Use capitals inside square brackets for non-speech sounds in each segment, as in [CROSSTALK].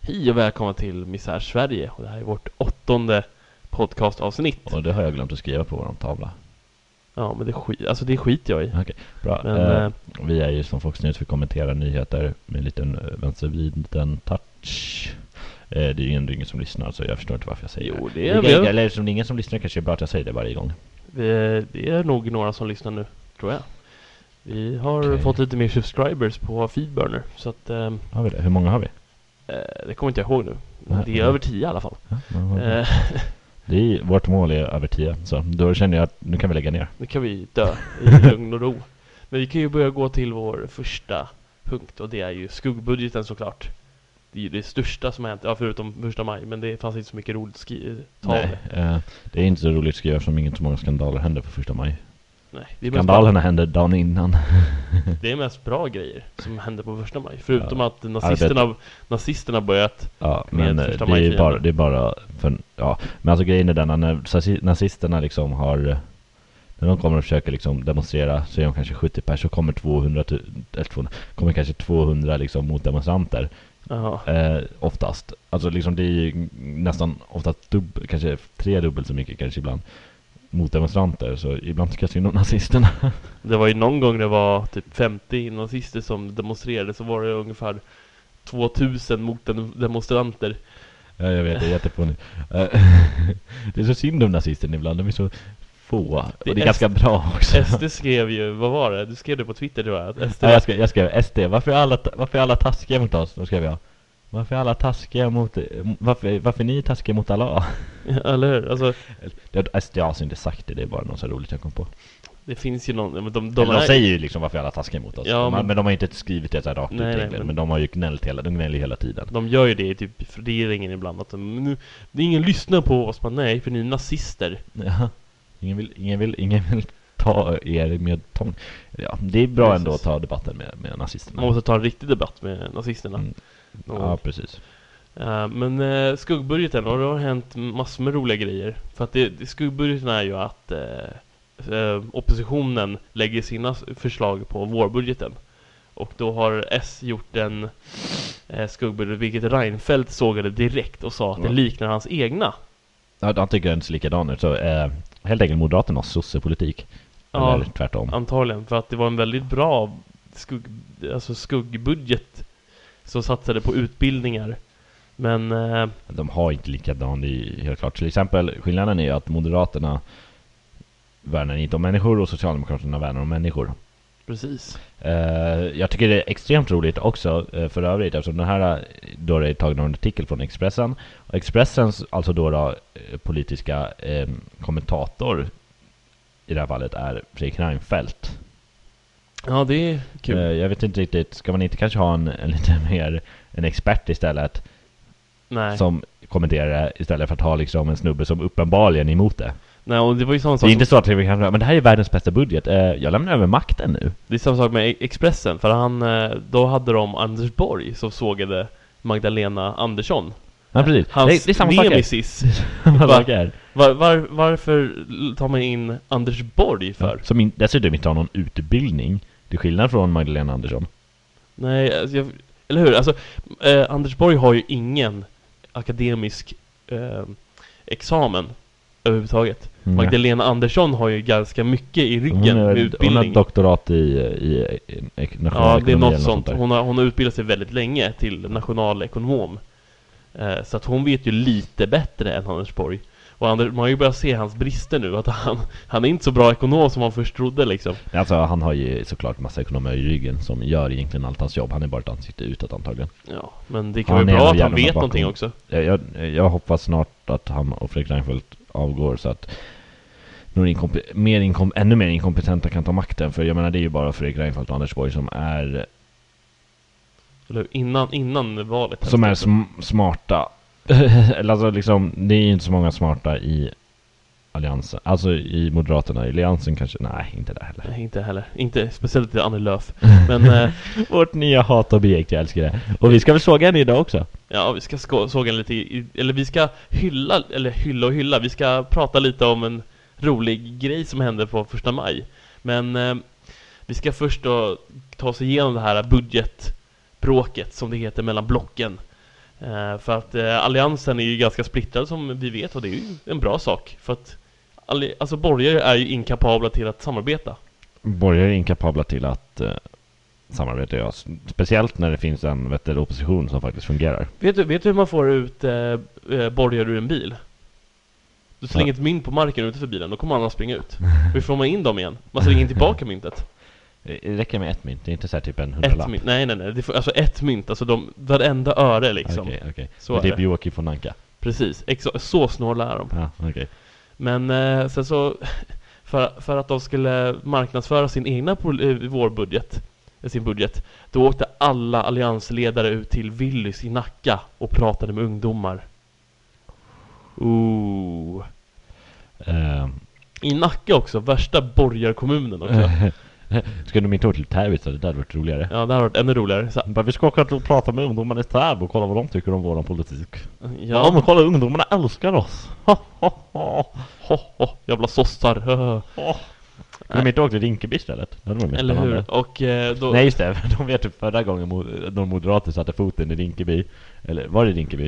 Hej och välkomna till Misär Sverige och det här är vårt åttonde podcastavsnitt. Och det har jag glömt att skriva på vår tavla. Ja, men det, skit, alltså det skiter jag i. Okej, bra. Men, eh, eh, vi är ju som Fox News, vi kommenterar nyheter med en liten eh, vänstervriden touch. Eh, det är ju ändå ingen som lyssnar, så jag förstår inte varför jag säger Jo, det. det Eller- är, vi har- Eller eftersom det är ingen som lyssnar kanske det är bra att jag säger det varje gång. det, det är nog några som lyssnar nu, tror jag. Vi har Okej. fått lite mer subscribers på Feedburner, så att eh, Har vi det? Hur många har vi? eh, det kommer inte jag ihåg nu. Nej, Det nej. är över tio i alla fall. Ja, men vad bra. Eh, [LAUGHS] Det är, vårt mål är över 10, så då känner jag att nu kan vi lägga ner. nu kan vi dö [LAUGHS] i lugn och ro. Men vi kan ju börja gå till vår första punkt och det är ju skuggbudgeten såklart. Det är ju det största som har hänt, ja förutom första maj, men det fanns inte så mycket roligt skri- tal. Nej, eh, det är inte så roligt att skriva eftersom inte så många skandaler händer på första maj. Nej, det, är mest bara, Skandalerna händer dagen innan. det är mest bra grejer som hände på första maj. Förutom att Arbete. nazisterna, nazisterna börjat, Ja, Med men eh, första det är, ju majfirandet. bara, det är bara för, ja. Men alltså grejen är den att när sazi- nazisterna liksom har när de kommer och försöker liksom demonstrera så är de kanske 70 pers så kommer 200, tu- eller 200 kommer kanske 200 liksom motdemonstranter jaha, eh, oftast. Alltså liksom det är ju nästan oftast dubb, kanske tredubbelt så mycket kanske ibland motdemonstranter så ibland tycker jag synd om nazisterna. [LAUGHS] det var ju någon gång det var typ 50 nazister som demonstrerade så var det ungefär 2000 mot [LAUGHS] demonstranter. Ja, jag vet, det är jättefånigt. Eh, [LAUGHS] det är så synd om nazisterna ibland, de är så få. Och det Det är är ganska bra också. SD skrev ju, vad var det? Du skrev det på Twitter tror jag, att SD Ja, jag, skrev, jag skrev SD, varför är, alla, ta- varför är alla taskiga mot oss? Då skrev jag Varför är alla taskiga mot, varför, varför är ni taskiga mot Allah? Eller hur? Alltså, [LAUGHS] Det, SD har alltså inte sagt det, det är bara något så roligt jag kom på det finns ju någon... men De, De, de, Eller, de är, säger ju liksom varför är alla taskiga mot oss Ja, de, har- men- men de har inte skrivit det så här rakt ut Nej, nej, egentligen men... men- de har ju gnällt hela, de gnäller ju hela tiden de gör ju det i typ regeringen ibland, att de, nu, det är ingen lyssnar på oss, men nej, för ni är nazister. ja. ingen, vill, ingen, vill, ingen vill [LAUGHS] ta er med tång ja, Det är bra ändå att Precis. ta debatten med, med nazisterna Man måste ta en riktig debatt med nazisterna. Mm. Någon Ja, precis Eh, Men eh, skuggbudgeten, och det har hänt massor med roliga grejer. För att det, det- skuggbudgeten är ju att eh, eh, oppositionen lägger sina s- förslag på vårbudgeten. Och då har S gjort en eh, skuggbudget, vilket Reinfeldt sågade direkt och sa att Ja. det liknar hans egna. ja, Han tycker inte så likadan ut, så eh, helt enkelt Moderaternas sossepolitik Ja. Eller tvärtom Antagligen, för att det var en väldigt bra skugg, alltså skuggbudget som satsade på utbildningar. Men eh, De har inte likadan, det är ju helt klart. Till exempel, skillnaden är ju att Moderaterna värnar inte om människor och Socialdemokraterna värnar om människor. precis. Eh, jag tycker det är extremt roligt också eh, för övrigt eftersom den här eh, då är tagen av en artikel från Expressen. Och Expressens, alltså då, då eh, politiska eh, kommentator i det här fallet är Fredrik Reinfeldt. Ja, det är kul. Eh, jag vet inte riktigt, ska man inte kanske ha en, en lite [LAUGHS] mer, en expert istället Nej. som kommenterar det istället för att ha liksom en snubbe som uppenbarligen är emot det? Nej, och det var ju samma Det sak är inte så att vi kan men det här är världens bästa budget. Eh, jag lämnar över makten nu. Det är samma sak med E- Expressen, för han, eh, då hade de Anders Borg som sågade Magdalena Andersson. Ja, precis. Hans det, det är samma saker. nemesis. [LAUGHS] Samma Va? saker. Var, var, varför tar man in Anders Borg för? Som in, dessutom inte har någon utbildning. Till skillnad från Magdalena Andersson. Nej, alltså jag, eller hur? Alltså, eh, Anders Borg har ju ingen akademisk eh, examen överhuvudtaget. Mm. Magdalena Andersson har ju ganska mycket i Hon, ryggen med är, hon har utbildning. doktorat i, i, i, i Ja, det nationalekonomi är eller något sånt. där. Hon har, hon har utbildat sig väldigt länge till nationalekonom. Eh, så att hon vet ju lite bättre än Anders Borg. Och Anders, man har ju börjat se hans brister nu, att han, han är inte så bra ekonom som man först trodde liksom. Alltså han har ju såklart massa ekonomer i ryggen som gör egentligen allt hans jobb. Han är bara ett ansikte utåt antagligen. Ja, men det kan Han vara är bra en att han jävla vet bakom. någonting också. Jag, jag, jag hoppas snart att han och Fredrik Reinfeldt avgår så att någon inkompe- mer inkom- ännu mer inkompetenta kan ta makten. För jag menar det är ju bara Fredrik Reinfeldt och Anders Borg som är, Eller hur? innan, innan valet. som är helst, alltså. sm- smarta. [LAUGHS] Eller alltså liksom, det är ju inte så många smarta i Alliansen. Alltså i Moderaterna. I Alliansen kanske, nej inte där heller. Nej, inte heller. Inte speciellt till Annie Lööf. Men eh, [LAUGHS] Vårt nya hatobjekt, jag älskar det. Och vi ska väl såga henne idag också? ja, vi ska sko- såga lite, i, eller vi ska hylla, eller hylla och hylla, vi ska prata lite om en rolig grej som hände på första maj. Men eh, vi ska först då ta oss igenom det här budgetbråket som det heter mellan blocken. Eh, För att eh, alliansen är ju ganska splittrad som vi vet och det är ju en bra sak. För att alli- alltså borgare är ju inkapabla till att samarbeta. Borgare är inkapabla till att eh, samarbeta, ja. S- Speciellt när det finns en vet du, opposition som faktiskt fungerar. Vet du, vet du hur man får ut eh, eh, borgare ur en bil? Du slänger Nej. ett mynt på marken utanför bilen, då kommer alla springa ut. Hur får man in dem igen? Man slänger in tillbaka [LAUGHS] myntet. Det Eh, räcker med ett mynt, det är inte så här typ en Ett hundralapp. mynt, nej nej nej, det får, alltså ett mynt, alltså de, varenda öre liksom. Ah, Okej, okej. Så Det är är typ det. Joakim von Anka. Precis, exa- så snåla är de. Ja, okej. Men eh, sen så, [LAUGHS] för, för att de skulle marknadsföra sin egna pol- eh, vårbudget, eh, sin budget, då åkte alla alliansledare ut till Willys i Nacka och pratade med ungdomar. Ooh. Ehm, [LAUGHS] I Nacka också, värsta borgarkommunen också. Eh. Ska de inte åka till Täby? Det där hade varit roligare. Ja, det här har varit ännu roligare. Så, Bara, vi ska åka och prata med ungdomarna i Täby och kolla vad de tycker om våran politik. Ja, ja, men kolla ungdomarna älskar oss. Ha, ha, ha. ho, ho, jävla sossar. [LAUGHS] hö, hö. ha. Skulle de inte åka till Rinkeby istället? Det hade varit mer Eller spännande. hur? Och eh, då... Nej just det, [LAUGHS] de vet typ förra gången mo- de moderater satte foten i Rinkeby Eller var det Rinkeby?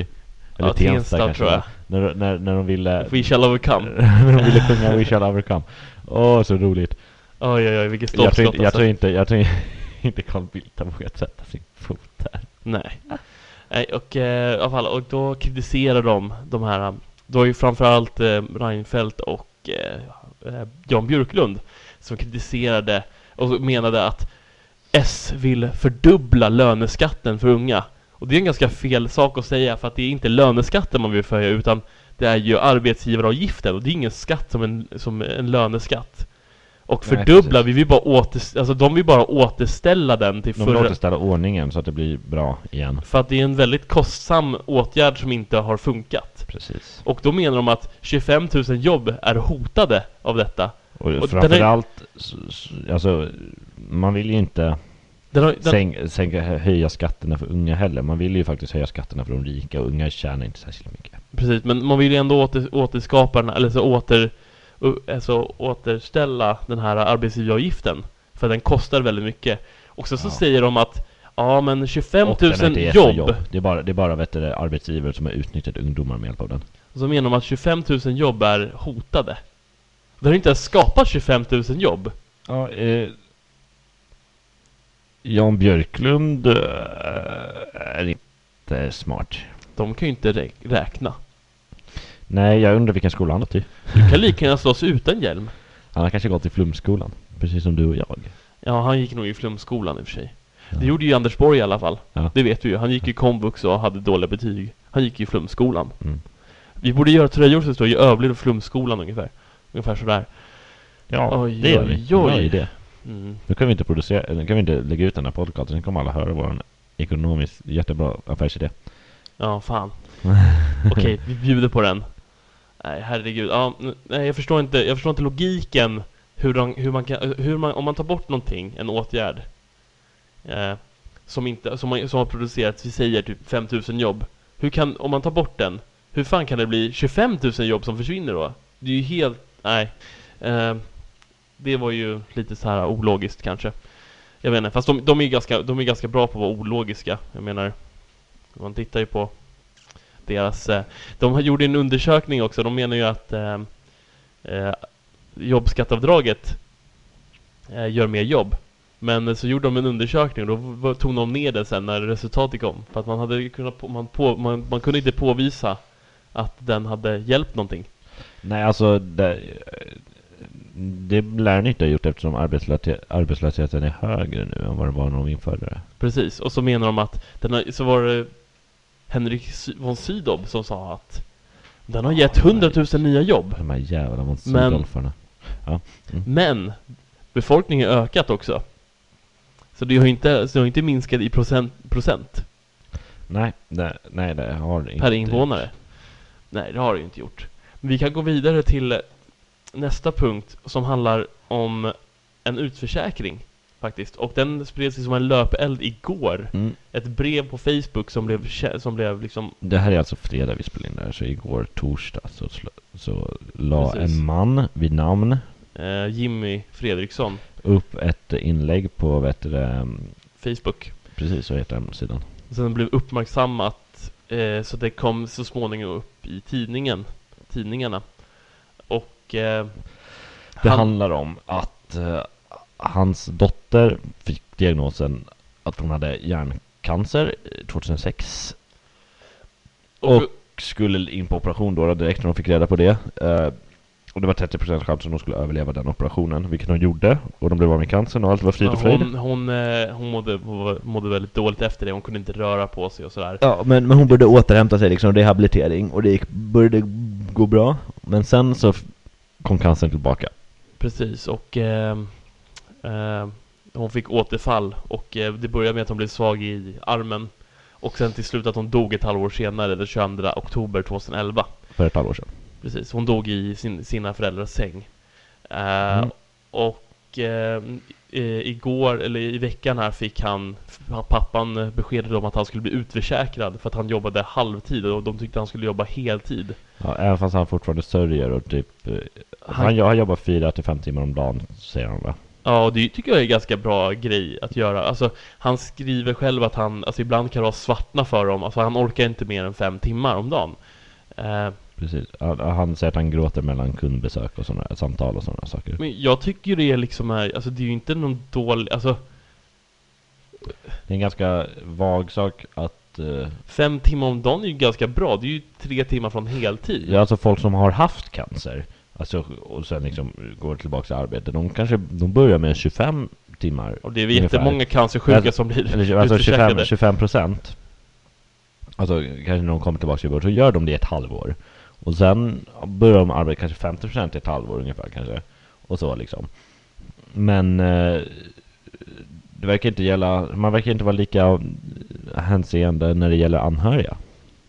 Eller Ja, Tensta, tror jag. När, när, när de ville We shall overcome. när de ville sjunga We shall overcome Åh så roligt Oj, oj, oj, vilket jag, stolpskott tror inte, jag alltså. tror inte, jag tror [LAUGHS] inte Carl Bildt har vågat sätta sin fot där Nej. Nej, och eh, i alla fall, och då kritiserar de de här, eh, då är ju framförallt eh, Reinfeldt och eh, eh, Jan Björklund som kritiserade och menade att S vill fördubbla löneskatten för unga. Och det är en ganska fel sak att säga för att det är inte löneskatten man vill höja utan det är ju arbetsgivaravgiften och det är ingen skatt som en, som en löneskatt. Och Nej, fördubbla, precis. vi vill bara åter, alltså de vill bara återställa den till De vill förra återställa ordningen så att det blir bra igen för att det är en väldigt kostsam åtgärd som inte har funkat. Precis Och då menar de att 25 000 jobb är hotade av detta. Och, den är- framförallt, s- s- alltså man vill ju inte Den har, den, Sänk, sänka, höja skatterna för unga heller. Man vill ju faktiskt höja skatterna för de rika och unga tjänar inte särskilt mycket. precis, men man vill ju ändå åter, återskapa den, eller så åter, u- alltså återställa den här arbetsgivaravgiften. För den kostar väldigt mycket. Och sen så Ja. säger de att ja men 25 000 Och den är inte ett jobb, Det är bara, det är bara vet du, det, arbetsgivare som har utnyttjat ungdomar med hjälp av den. Och så menar de att 25 000 jobb är hotade. Det har inte ens skapat 25 000 jobb. Ja, eh, Jan Björklund eh, är inte smart. De kan ju inte rä- räkna. Nej, jag undrar vilken skola han har gått i. Du kan lika gärna slåss utan hjälm. Han har kanske gått i flumskolan. Precis som du och jag. Ja, han gick nog i flumskolan i och för sig. Ja. Det gjorde ju Anders Borg i alla fall. Ja. Det vet vi ju. Han gick i komvux och hade dåliga betyg. Han gick i flumskolan. Mm. Vi borde göra tröjor som står i överlevd flumskolan ungefär. Ungefär sådär. Ja, Oj, det gör oj, vi. Bra oj. idé. Mm. Nu kan vi inte producera, eller nu kan vi inte lägga ut den här podcasten. Nu kommer alla höra vår ekonomiskt jättebra affärsidé. Ja, fan. Okej, vi bjuder på den. Nej, herregud. Ja, n- nej, jag förstår inte, jag förstår inte logiken. Hur, de, hur man kan, hur man, om man tar bort någonting, en åtgärd. Eh, som, inte, som, man, som har producerats, vi säger typ 5000 jobb. Hur kan, om man tar bort den, hur fan kan det bli 25 000 jobb som försvinner då? Det är ju helt, nej. Eh, det var ju lite så här ologiskt kanske. Jag vet inte, fast de, de är ju ganska, de är ganska bra på att vara ologiska. Jag menar, man tittar ju på deras... eh, De har gjort en undersökning också, de menar ju att eh, eh, jobbskattavdraget eh, gör mer jobb. Men eh, så gjorde de en undersökning och då v- tog de ner det sen när resultatet kom. För att man, hade ju kunnat, på- man, på, man, man kunde inte påvisa att den hade hjälpt någonting. Nej, alltså det, det lär ni inte ha gjort eftersom arbetslöshet, arbetslösheten är högre nu än vad den var när de införde det. Precis, och så menar de att den har, så var det Henrik Sy- von Sydow som sa att den har gett 100 000 nya jobb. De här jävla Men- monsterdolfarna. Men befolkningen har ökat också. Så det har ju inte, så det har inte minskat i procent, procent Nej, nej, nej, det har det inte. per invånare. Nej, det har det ju inte gjort. Men vi kan gå vidare till nästa punkt som handlar om en utförsäkring faktiskt. Och den spred sig som en löpeld igår. Mm. Ett brev på Facebook som blev, kä- som blev liksom... Det här är alltså fredag vi spelade in det här, så igår torsdag så, sl- så la Precis. en man vid namn Eh, Jimmy Fredriksson, upp ett inlägg på, vet du, det, Facebook. precis så heter den sidan. Sen blev uppmärksammat Eh, så det kom så småningom upp i tidningen, tidningarna. Och eh, Det han- handlar om att eh, hans dotter fick diagnosen att hon hade hjärncancer eh, 2006 och, och skulle in på operation då direkt när hon fick reda på det. Eh, och det var 30% chans att hon skulle överleva den operationen, vilket hon gjorde. Och de blev av med cancern och allt var frid och fröjd. hon, hon, eh, hon mådde, mådde väldigt dåligt efter det, hon kunde inte röra på sig och sådär. Ja, men, men hon började återhämta sig liksom, rehabilitering och det gick, började gå bra. Men sen så f- kom cancern tillbaka. Precis, och eh, eh, hon fick återfall och eh, det började med att hon blev svag i armen och sen till slut att hon dog ett halvår senare, den 22 oktober 2011. För ett halvår sedan. Precis, hon dog i sin, sina föräldrars säng. Eh, Mm. Och eh, i- igår, eller i veckan här, fick han, pappan beskedet om att han skulle bli utförsäkrad för att han jobbade halvtid och de tyckte han skulle jobba heltid. Ja, även fast han fortfarande sörjer och typ... eh, Han- Han, han jobbar fyra till fem timmar om dagen, säger han va? Ja, och det tycker jag är en ganska bra grej att göra. Alltså, han skriver själv att han, alltså ibland kan det ha svartna för dem. Alltså han orkar inte mer än fem timmar om dagen. Eh, Precis. Han, han säger att han gråter mellan kundbesök och sådana samtal och sådana saker. men jag tycker ju det är liksom är, alltså det är ju inte någon dålig, alltså Det är en ganska vag sak att... eh, fem timmar om dagen är ju ganska bra. Det är ju tre timmar från heltid. Ja, alltså folk som har haft cancer alltså, och sen liksom går tillbaka till arbete. De kanske de börjar med 25 timmar. Och det är Ungefär. jättemånga cancersjuka Eller- som blir Eller alltså 25, utförsäkrade. 25 procent. Alltså kanske när de kommer tillbaka till vård så gör de det i ett halvår. Och sen börjar de arbeta kanske 50 procent i ett halvår ungefär kanske. Och så liksom. Men eh, det verkar inte gälla, man verkar inte vara lika hänseende när det gäller anhöriga.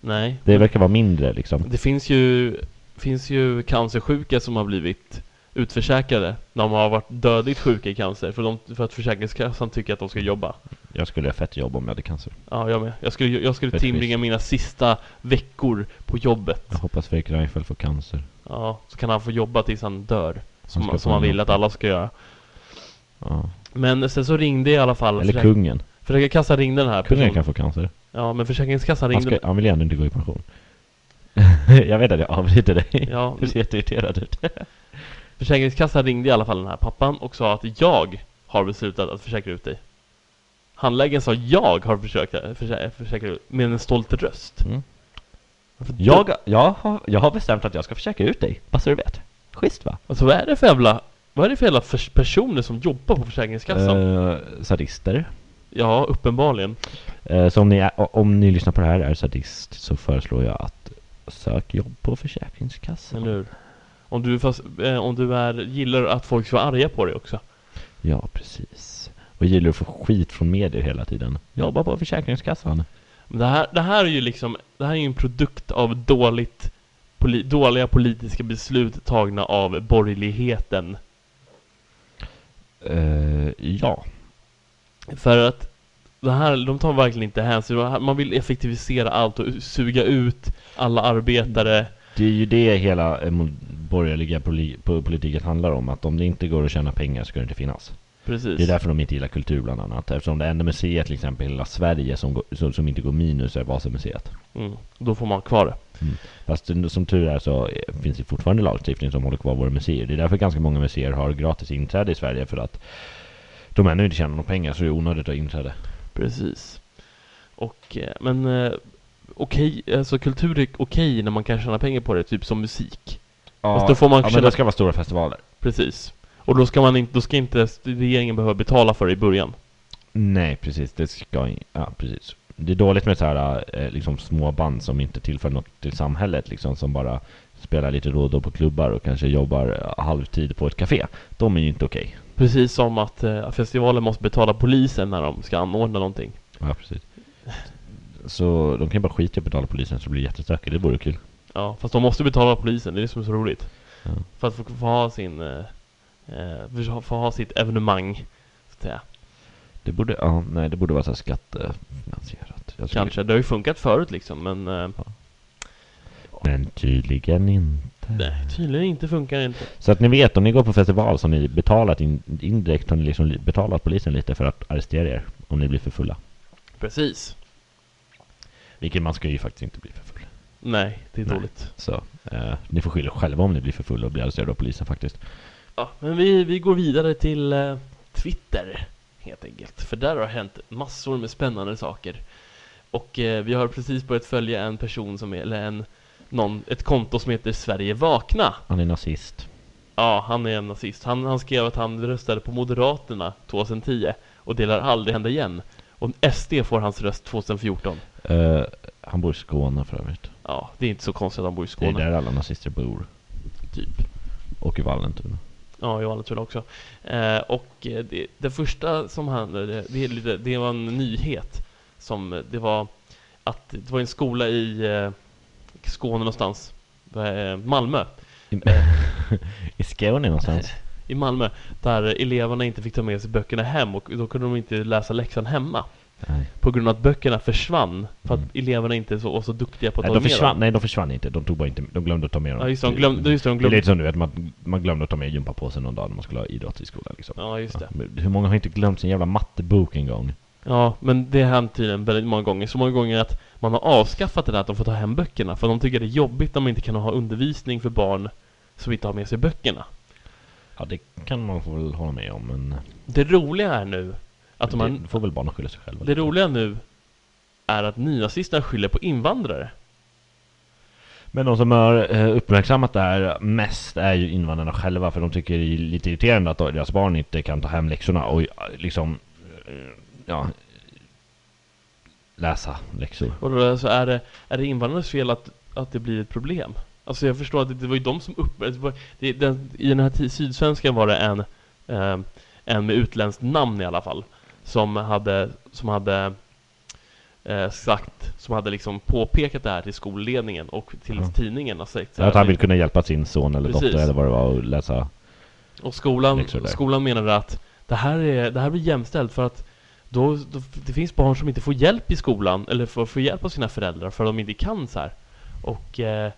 Nej. Det verkar vara mindre liksom. Det finns ju, finns ju cancersjuka som har blivit utförsäkrade. De har varit dödligt sjuka i cancer för, de, för att Försäkringskassan tycker att de ska jobba. Jag skulle ha fett jobb om jag hade cancer. Ja, jag med. Jag skulle, jag skulle Rättvist. tillbringa mina sista veckor på jobbet. Jag hoppas Fredrik Reinfeldt får cancer. Ja, så kan han få jobba tills han dör. Som, ska han, få som han en- vill att alla ska göra. Ja. Men sen så ringde i alla fall... Eller Försäk- kungen. Försäkringskassan ringde den här Kungen personen. kan få cancer. Ja, men Försäkringskassan Han, ringde... ska, han vill ju ändå inte gå i pension. [LAUGHS] jag vet att jag avbryter dig. Ja, [LAUGHS] Du ser jätteirriterad ut. Försäkringskassan ringde i alla fall den här pappan och sa att jag har beslutat att försäkra ut dig. Handläggaren sa jag har försökt försäkra, försäkra ut med en stolt röst. Mm. Varför då? Jag, jag, har, jag har bestämt att jag ska försöka ut dig, bara så du vet. Schysst va? Alltså vad är det för jävla... Vad är det för jävla förs- personer som jobbar på Försäkringskassan? Eh, sadister. Ja, uppenbarligen. Eh, så om ni, är, om ni lyssnar på det här och är sadist så föreslår jag att sök jobb på Försäkringskassan. Eller hur? Om du, fast, eh, om du är, gillar att folk ska vara arga på dig också. Ja, precis. Och gillar att få skit från medier hela tiden. Jobba på Försäkringskassan. Men det här, det här är ju liksom... Det här är ju en produkt av dåligt... Poli, dåliga politiska beslut tagna av borgerligheten. Eh, ja. För att det här, de tar verkligen inte hänsyn. Man vill effektivisera allt och suga ut alla arbetare. Det är ju det hela eh, mo- borgerliga poli- po- politiken handlar om. Att om det inte går att tjäna pengar ska det inte finnas. Precis. Det är därför de inte gillar kultur bland annat. Eftersom det enda museet till exempel i hela Sverige som, går, som, som inte går minus är Vasamuseet. mm. Då får man ha kvar det. Fast det- som tur är så eh, finns det fortfarande lagstiftning som håller kvar våra museer. Det är därför ganska många museer har gratis inträde i Sverige för att de ännu inte tjänar några pengar så det är onödigt att ha inträde. Precis. Och, eh, men eh, okej, alltså kultur är okej när man kan tjäna pengar på det, typ som musik. Ja, Fast då får man ja men tjäna- det ska vara stora festivaler. Precis. Och då ska man inte, då ska inte regeringen behöva betala för det i början. Nej, precis. Det ska in- ja, precis. Det är dåligt med så här eh, liksom små band som inte tillför något till samhället, liksom som bara spelar lite då och då på klubbar och kanske jobbar eh, halvtid på ett café. De är ju inte okej. Precis som att eh, festivalen måste betala polisen när de ska anordna någonting. Ja, precis. Så de kan ju bara skita i att betala polisen så det blir jättestökigt. Det vore kul. Ja, fast de måste betala polisen, det är det som är så roligt. Ja. För att få, få ha sin... eh, eh, för att ha- få ha sitt evenemang, så att säga. Det borde, ja, nej, det borde vara så här skattefinansierat. Jag skulle- Kanske. Det har ju funkat förut liksom, men... eh, Men tydligen inte. nej, tydligen inte funkar det inte. Så att ni vet, om ni går på festival så har ni betalat in, indirekt, har ni liksom li- betalat polisen lite för att arrestera er om ni blir för fulla. Precis. Vilket man ska ju faktiskt inte bli för full. Nej, det är Nej. dåligt. Så eh, ni får skylla er själva om ni blir för fulla och blir arresterade av polisen faktiskt. Ja, men vi, vi går vidare till eh, Twitter helt enkelt. För där har hänt massor med spännande saker. Och eh, vi har precis börjat följa en person som är, eller en, någon, ett konto som heter Sverige Vakna. Han är nazist. Ja, han är en nazist. Han, han skrev att han röstade på Moderaterna 2010 och det lär aldrig hända igen. Och SD får hans röst 2014. Eh, han bor i Skåne för övrigt. Ja, det är inte så konstigt att han bor i Det är Skåne. där alla nazister bor. Typ. Och i Vallentuna. Ja, i Vallentuna också. Eh, och eh, det, det första som hände, det, det, är lite- det var en nyhet. Som, eh, det var att det var en skola i eh, Skåne någonstans. Eh, Malmö. [LAUGHS] [LAUGHS] I, I Skåne någonstans. I Malmö. Där eleverna inte fick ta med sig böckerna hem och då kunde de inte läsa läxan hemma. Nej. På grund av att böckerna försvann. För att Mm. eleverna inte så, var så duktiga på att Nej, ta de med försvann, dem. nej, de försvann inte. De, tog bara inte, de glömde att ta med dem. Ja, just det. De glömde, just det, de Det är glömde. lite som du vet, man, man glömde att ta med gympapåsen någon dag när man skulle ha idrott i skolan liksom. Ja, just det. Ja, men Hur många har inte glömt sin jävla mattebok en gång? Ja, men det har hänt tydligen väldigt många gånger. Så många gånger att man har avskaffat det där att de får ta hem böckerna. För de tycker det är jobbigt om man inte kan ha undervisning för barn som inte har med sig böckerna. Ja, det kan man få väl hålla med om, men... Det roliga är nu att de det har, får väl barnen skylla sig själva. det lite. roliga nu är att nynazisterna skyller på invandrare. Men de som har eh, uppmärksammat det här mest är ju invandrarna själva för de tycker det är lite irriterande att deras barn inte kan ta hem läxorna och eh, liksom... eh, Ja... Läsa läxor. Och då så är det, är det invandrarnas fel att, att det blir ett problem. Alltså jag förstår att det, det var ju de som upp... Det var, det, den, I den här ti- sydsvenskan var det en, eh, en med utländskt namn i alla fall. Som hade, som hade eh, sagt, som hade liksom påpekat det här till skolledningen och till Ja. tidningen. Och, sagt, så Så att han här, vill kunna hjälpa sin son eller Precis. dotter eller vad det var och läsa... och skolan, Läxor där. skolan menade att det här, är, det här blir jämställt för att då, då, det finns barn som inte får hjälp i skolan eller får, får hjälp av sina föräldrar för att de inte kan så här. Och eh,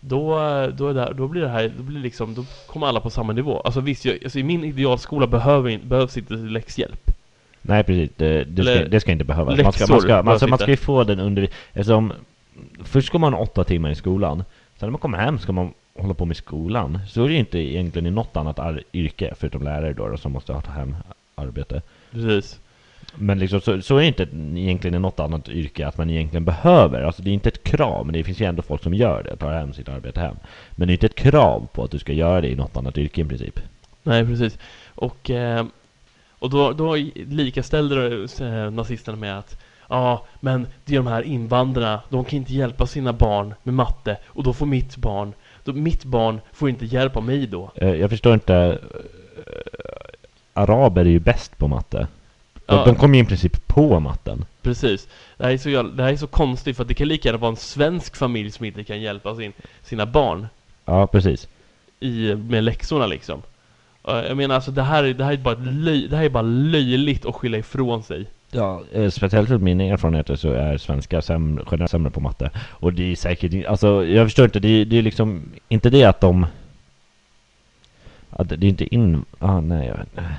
då, då, är det, då blir det här, då blir liksom, då kommer alla på samma nivå. Alltså visst, jag, alltså, i min idealskola behöver, in- behövs inte läxhjälp. Nej precis, det, det, ska, Eller- det ska inte behövas. Man ska, läxor man, ska, man, behövs ska, man ska inte. ju få den under... Eftersom, först går man åtta timmar i skolan, sen när man kommer hem ska man hålla på med skolan. Så är det ju inte egentligen i något annat ar- yrke, förutom lärare då, då som måste ta hem arbete. Precis. Men liksom, så, så är det inte egentligen i något annat yrke att man egentligen behöver. Alltså det är inte ett krav, men det finns ju ändå folk som gör det, tar hem sitt arbete hem. Men det är inte ett krav på att du ska göra det i något annat yrke i princip. Nej, precis. Och, eh, och då, då likaställde eh, nazisterna med att Ja, men det är de här invandrarna, de kan inte hjälpa sina barn med matte och då får mitt barn, då, mitt barn får inte hjälp av mig då. Eh, Jag förstår inte... eh, Araber är ju bäst på matte. De, Ja. de kom ju i princip på matten. Precis. Det här, är så, jävla- det här är så konstigt för att det kan lika gärna vara en svensk familj som inte kan hjälpa sin, sina barn Ja, precis. i, med läxorna liksom. Eh, Jag menar alltså det här, är- det här, är, bara ett löj, det här är bara löjligt att skylla ifrån sig. Ja, eh, speciellt ur mina erfarenheter så är svenskar sämre, generellt sämre på matte. Och det är säkert in- alltså jag förstår inte, det är, det är liksom inte det att de... Att det är inte in... Ah, nej, jag, nej,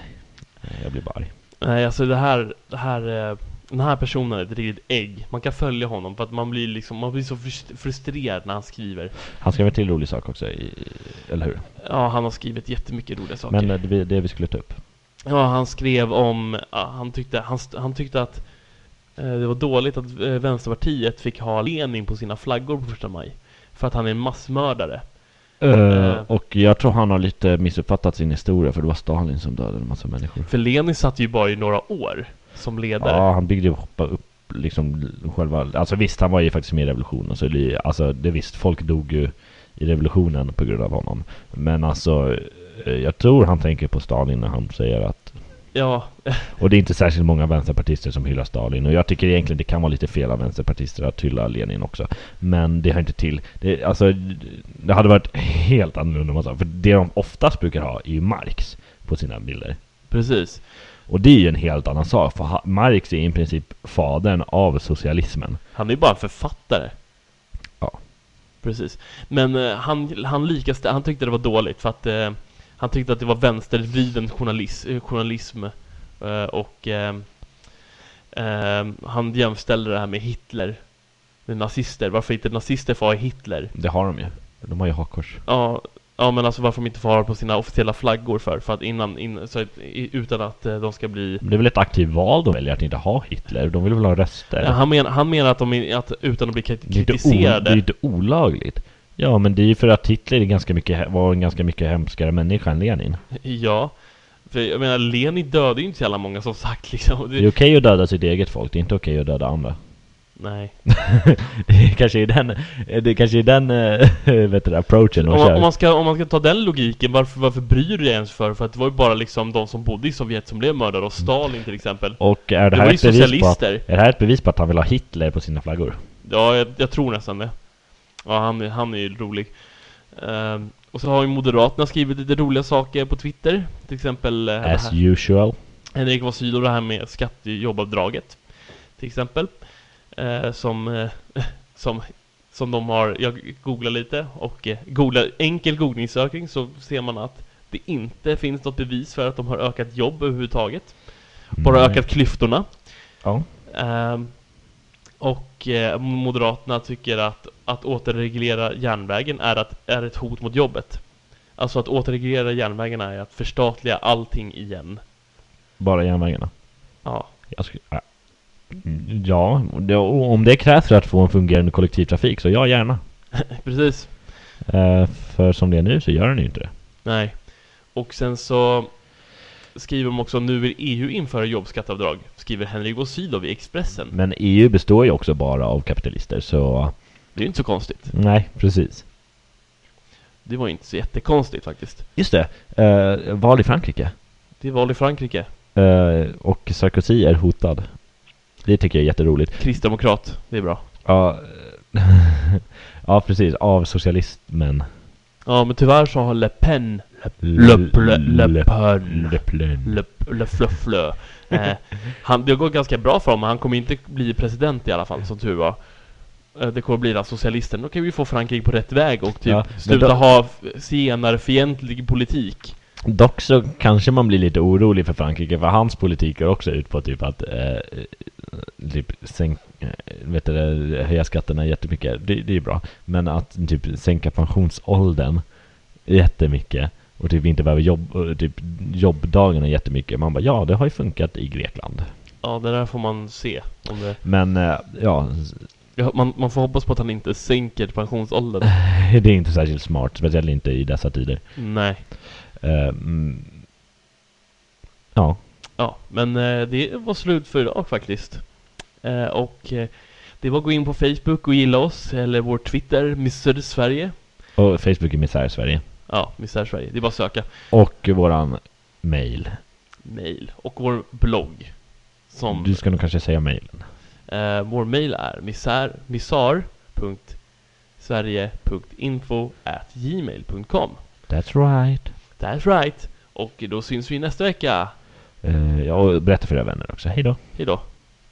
Nej, jag blir bara arg. Nej, alltså det här, det här, eh, den här personen är ett riktigt ägg. Man kan följa honom för att man blir liksom, man blir så frust- frustrerad när han skriver. Han skrev en till rolig sak också, i, eller hur? Ja, han har skrivit jättemycket roliga saker. Men eh, det, vi- det vi skulle ta upp. Ja, han skrev om, ja, han, tyckte, han, st- han tyckte att eh, det var dåligt att eh, Vänsterpartiet fick ha Lenin på sina flaggor på första maj. För att han är en massmördare. Eh, och jag tror han har lite missuppfattat sin historia för det var Stalin som dödade en massa människor. För Lenin satt ju bara i några år som ledare. Ja, han byggde ju hoppa upp liksom själva... Alltså visst, han var ju faktiskt med i revolutionen. Så det, alltså det visst, folk dog ju i revolutionen på grund av honom. Men alltså, eh, jag tror han tänker på Stalin när han säger att... Ja, [LAUGHS] Och det är inte särskilt många vänsterpartister som hyllar Stalin. Och jag tycker egentligen det kan vara lite fel av vänsterpartister att hylla Lenin också. Men det hör inte till. Det, alltså, det hade varit helt annorlunda om man sa. För det de oftast brukar ha är ju Marx på sina bilder. precis. Och det är ju en helt annan sak, för ha- Marx är i princip fadern av socialismen. Han är ju bara en författare. Ja. Precis. Men eh, han, han, likaste, han tyckte det var dåligt för att eh, han tyckte att det var vänstervriden journalis, eh, journalism eh, och eh, eh, han jämställde det här med Hitler Det är nazister, varför inte nazister får ha Hitler? Det har de ju. De har ju hakkors. Ja, ja men alltså varför de inte får ha det på sina officiella flaggor för? För att innan, in, så att, i- utan att eh, de ska bli... Men det är väl ett aktivt val de väljer att inte ha Hitler? De vill väl ha röster? Ja, han, men, han menar att de är- att utan att bli Mm. det, är inte o- det är kritiserade. inte olagligt. Ja, men det är ju för att Hitler är ganska mycket, var en ganska mycket hemskare människa än Lenin. Ja. För jag menar, Lenin dödade ju inte så jävla många som sagt liksom. Det är okej Det, att döda sitt eget folk, det är inte okej att döda andra. [LAUGHS] nej. Det kanske är den, det kanske är den eh, [LAUGHS] vet du, approachen de Om man, om, kör. man ska, om man ska ta den logiken, varför, varför bryr du dig ens för? För att det var ju bara liksom de som bodde i Sovjet som blev mördade, och Stalin till exempel. Och är det, Det här var ju ett bevis på att, socialister. är det här ett bevis på att han vill ha Hitler på sina flaggor? Ja, jag, jag tror nästan det. Ja, han, är- han är ju rolig. Ehm, och så har ju Moderaterna skrivit lite roliga saker på Twitter. Till exempel eh, det här- As usual. Henrik von Sydow det här med skattejobbavdraget. Till exempel. Eh, som, eh, [LAUGHS] som, som de har, jag googlar lite och eh, googlar enkel googlingsökning så ser man att det inte finns något bevis för att de har ökat jobb överhuvudtaget. Bara Mm. ökat klyftorna. Ja. Ehm, och eh, Moderaterna tycker att att återreglera järnvägen är, att, är ett hot mot jobbet. Alltså att återreglera järnvägen är att förstatliga allting igen. Bara järnvägarna. Ja, Jag skulle, ja. Mm, ja, det, och om det krävs för att få en fungerande kollektivtrafik så ja, gärna. precis. Eh, för som det är nu så gör den ju inte det. Nej. Och sen så skriver de också nu vill EU införa jobbskattavdrag, skriver Henrik von Sydow i Expressen. Men EU består ju också bara av kapitalister så Det är ju inte så konstigt. nej, precis. Det var ju inte så jättekonstigt faktiskt. Just det, eh, val i Frankrike. Det är val i Frankrike. Eh, och Sarkozy är hotad. Det tycker jag är jätteroligt. Kristdemokrat, det är bra. Ja, [LAUGHS] eh, ja precis. Av socialismen. Ja, men tyvärr så har Le Pen, Le, Le, Ple- Le, Pen, Le Pen. Le, Le Flö, Flö. Eh, [LAUGHS] han, det har gått ganska bra för honom, men han kommer inte bli president i alla fall, som tur var. Eh, Det kommer bli den socialisten. Då kan vi få Frankrike på rätt väg och typ Ja, men sluta då- ha zigenarfientlig politik. Dock så kanske man blir lite orolig för Frankrike, för hans politik går också ut på typ att eh, typ sänk, eh, vet du, det, höja skatterna jättemycket, det, det är bra. Men att typ sänka pensionsåldern jättemycket och typ inte behöva jobb, och typ jobbdagarna jättemycket. Man bara ja, det har ju funkat i Grekland. Ja, det där får man se. Om det... Men eh, ja, [LAUGHS] ja, man, man får hoppas på att han inte sänker pensionsåldern. det är inte särskilt smart, speciellt inte i dessa tider. [LAUGHS] Nej. Eh, mm, ja, Ja, men eh, det var slut för idag faktiskt. Eh, och eh, det var att gå in på Facebook och gilla oss, eller vår Twitter, Mr Sverige. och Facebook är misär i Sverige. Ja, Mr Sverige. Det är bara att söka. Och våran mail. Mail. Och vår blogg. Som, Du ska nog kanske säga mailen. eh, vår mail är misär, misar.sverige.info.gmail.com That's right. That's right. Och då syns vi nästa vecka. Eh, jag berättar för era vänner också. Hej då. Hejdå.